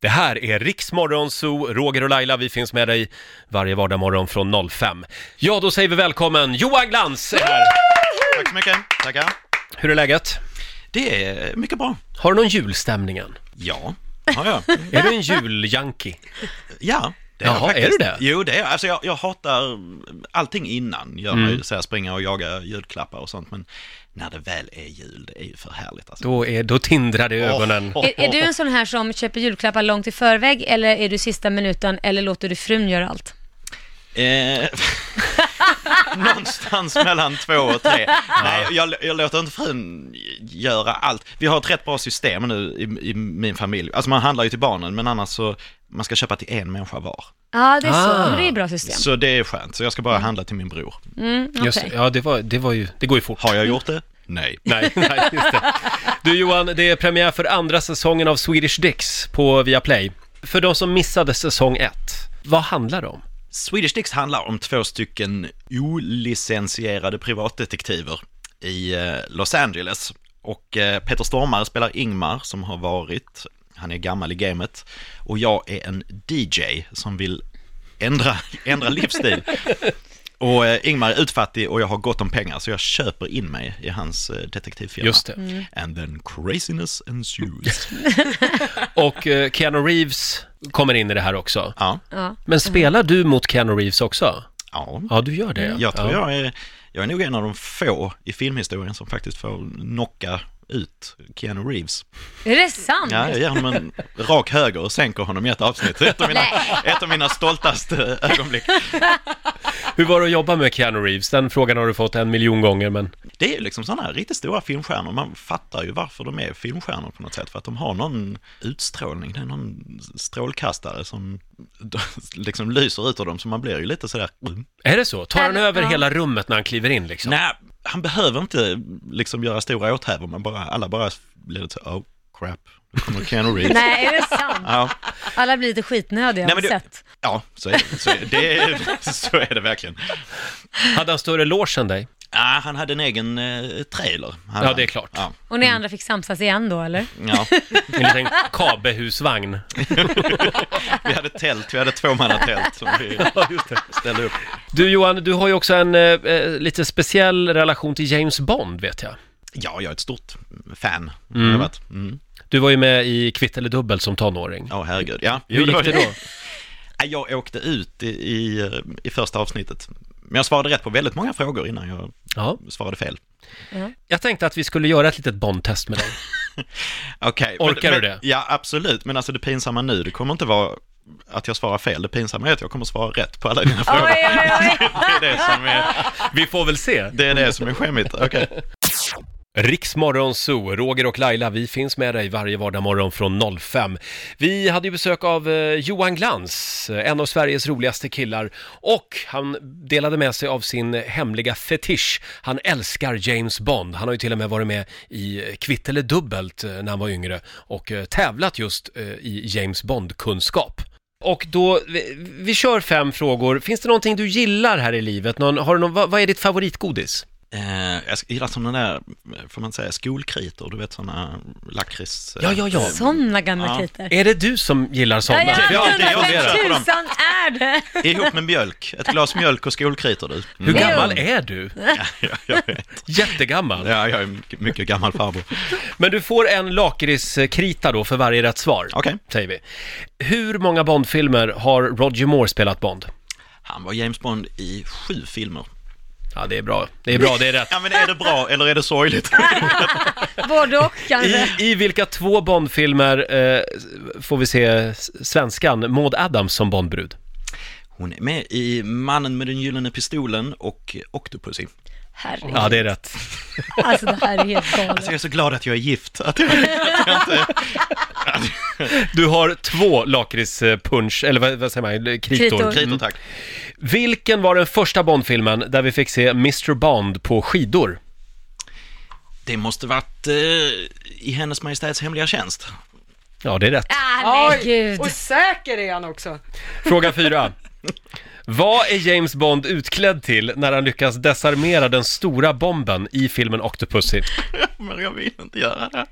Det här är Riksmorgonzoo, Roger och Laila, vi finns med dig varje vardagsmorgon från 05. Ja, då säger vi välkommen Johan Glans! är här. Tack så mycket. Tackar. Hur är läget? Det är mycket bra. Har du någon julstämning än? Ja, har jag. Är du en juljanki? Ja. Det Jaha, jag faktiskt. är du det? Jo, det är jag. Alltså jag, jag hatar allting innan. Gör mig så här, springa och jaga julklappar och sånt. Men när det väl är jul, det är ju för härligt alltså. Då, är, då tindrar det i Åh, ögonen. åh, Är, är du en sån här som köper julklappar långt i förväg eller är du sista minuten eller låter du frun göra allt? Eh, Någonstans mellan två och tre. Nej, jag, jag låter inte frun göra allt. Vi har ett rätt bra system nu i, i min familj. Alltså man handlar ju till barnen, men annars så man ska köpa till en människa var. Ja, det är så. Ah. Men det är ett bra system. Så det är skönt. Så jag ska bara handla till min bror. Mm, okej. Just, ja, det, var, det, var ju, det går ju fort. Har jag gjort det? Nej. Nej, nej, just det. Du Johan, det är premiär för andra säsongen av Swedish Dicks på Viaplay. För de som missade säsong ett, vad handlar det om? Swedish Dicks handlar om två stycken olicensierade privatdetektiver i eh, Los Angeles. Och eh, Peter Stormare spelar Ingmar som har varit, han är gammal i gamet, och jag är en DJ som vill ändra, ändra livsstil. Och eh, Ingmar är utfattig och jag har gott om pengar så jag köper in mig i hans eh, detektivfirma. Mm. Just det. And then craziness ensues. Och eh, Keanu Reeves kommer in i det här också. Ja, Ja. Men spelar du mot Keanu Reeves också? ja. Ja, du gör det. Jag tror ja. jag är, jag är nog en av de få i filmhistorien som faktiskt får knocka ut Keanu Reeves. Är det sant? Mm. Ja, jag ger honom en rak höger och sänker honom i ett avsnitt. Ett av mina, ett av mina stoltaste ögonblick. Hur var det att jobba med Keanu Reeves? Den frågan har du fått en miljon gånger, men Det är ju liksom sådana här riktigt stora filmstjärnor. Man fattar ju varför de är filmstjärnor på något sätt. För att de har någon utstrålning. Det är någon strålkastare som liksom lyser ut av dem. Så man blir ju lite sådär... Mm. är det så? Tar han Ja. över hela rummet när han kliver in liksom? Nej, han behöver inte liksom göra stora åthävor, men bara, alla bara blir lite så, oh crap, nu kommer Keanu Reeves. Nej, är det sant? Ja, Alla blir lite skitnödiga Nej, har men du- sett. ja så, är det, så, är det, så är det verkligen. Hade han större loge än dig? Ja, han hade en egen eh, trailer. Han, Ja, det är klart. Ja, Och ni andra fick samsas igen då, eller? ja. En liten kabehusvagn. Vi hade tält, vi hade tvåmannatält som vi ställde upp. Du Johan, du har ju också en eh, eh, lite speciell relation till James Bond, vet jag. Ja, jag är ett stort fan. Mm. Jag vet. Mm. Du var ju med i Kvitt eller dubbel som tonåring. Ja, herregud. Ja. Hur gick det då? Nej, Jag åkte ut i, i, i första avsnittet. Men jag svarade rätt på väldigt många frågor innan jag Ja. svarade fel. Jag tänkte att vi skulle göra ett litet Bond-test med dig. Okej. Orkar men, du men, det? Ja, absolut. Men alltså det pinsamma nu, det kommer inte vara att jag svarar fel. Det pinsamma är att jag kommer svara rätt på alla dina frågor. oj, oj. Det är det som är, Vi får väl se. det är, det som är skämmigt. Okej. Riksmorgon Zoo, Roger och Laila, vi finns med dig varje vardagsmorgon från 05. Vi hade ju besök av eh, Johan Glans, eh, en av Sveriges roligaste killar. Och han delade med sig av sin hemliga fetisch. Han älskar James Bond. Han har ju till och med varit med i eh, Kvitt eller dubbelt eh, när han var yngre och eh, tävlat just eh, i James Bond-kunskap. Och då, vi, vi kör fem frågor. Finns det någonting du gillar här i livet? Någon, har du någon, vad, vad är ditt favoritgodis? Eh, jag gillar som den där, får man säga, skolkritor, du vet sådana lakrits... eh, Ja, ja, ja. Såna gamla Ja. kriter. Är det du som gillar sådana? Ja, det jag är undrar jag vem funderar på dem. tusan är det? Ihop med mjölk, ett glas mjölk och skolkritor du. Hur Mm. gammal är du? Ja, jag vet. Jättegammal. Ja, jag är mycket- mycket gammal farbror. Men du får en lakritskrita då för varje rätt svar. Okej. Säger vi. Hur många Bondfilmer har Roger Moore spelat Bond? Han var James Bond i sju filmer. Ja, det är bra. Det är bra, det är rätt. Ja, men är det bra eller är det sorgligt? Både och kanske. I, I vilka två Bondfilmer eh, får vi se s- svenskan Maud Adams som Bondbrud? Hon är med i Mannen med den gyllene pistolen och Octopussy. Herregud. Ja, det är rätt. Alltså det här är Alltså helt galet. jag är så glad att jag är gift. Mm. Att jag, att jag inte, Du har två lakritspunch, eller vad, vad säger man, kritor. Kritor. kritor tack. Vilken var den första Bondfilmen där vi fick se Mr Bond på skidor? Det måste varit eh, i Hennes Majestäts hemliga tjänst. Ja, det är rätt. Ah, men gud. Och säker är han också. Fråga fyra. Vad är James Bond utklädd till när han lyckas desarmera den stora bomben i filmen Octopussy? Men jag vill inte göra det.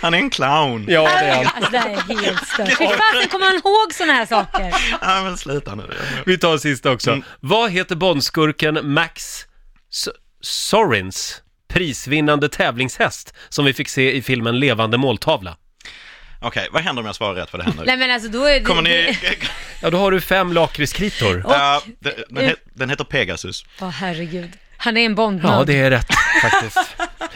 Han är en clown. Ja, det är han. Alltså det här är helt stört. Hur fasen kommer han ihåg sådana här saker? Nej, men sluta nu. Vi tar en sista också. Vad heter Bondskurken Max S- Sorins prisvinnande tävlingshäst som vi fick se i filmen Levande måltavla? Okej, vad händer om jag svarar rätt på det här nu? Nej men alltså då är det... Kommer ni... Ja, då har du fem lakritskritor. Och- Ja, den, den, he- den heter Pegasus. Åh herregud. Han är en bondman. Ja, det är rätt faktiskt.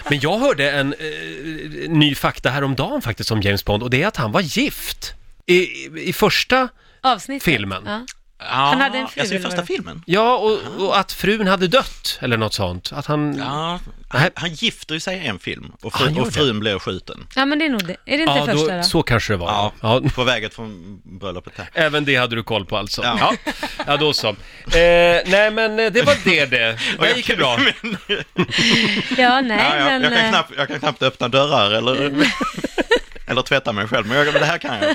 Men jag hörde en eh, ny fakta häromdagen faktiskt om James Bond och det är att han var gift. I, i första, Avsnittet. Filmen. Ja. Han hade en fru, Alltså i eller första vad? filmen? ja, och, och att frun hade dött eller något sånt. Att han... Ja, Nej. han, han gifter ju sig i en film och, fru, Han gör och frun blir skjuten. ja men det är nog det. Är det inte Ja, första då? då, så kanske det var. Ja, Ja. på väget från bröllopet här. Även det hade du koll på alltså? Ja. Ja. Ja, då så. Eh, nej men eh, det var det det. Det gick ju bra. Men- Ja nej ja, jag, jag, men... kan eh, knappt, jag kan knappt öppna dörrar eller, eller tvätta mig själv, men, jag, men det här kan jag.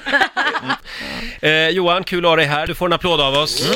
Eh, Johan, kul att ha dig här. Du får en applåd av oss.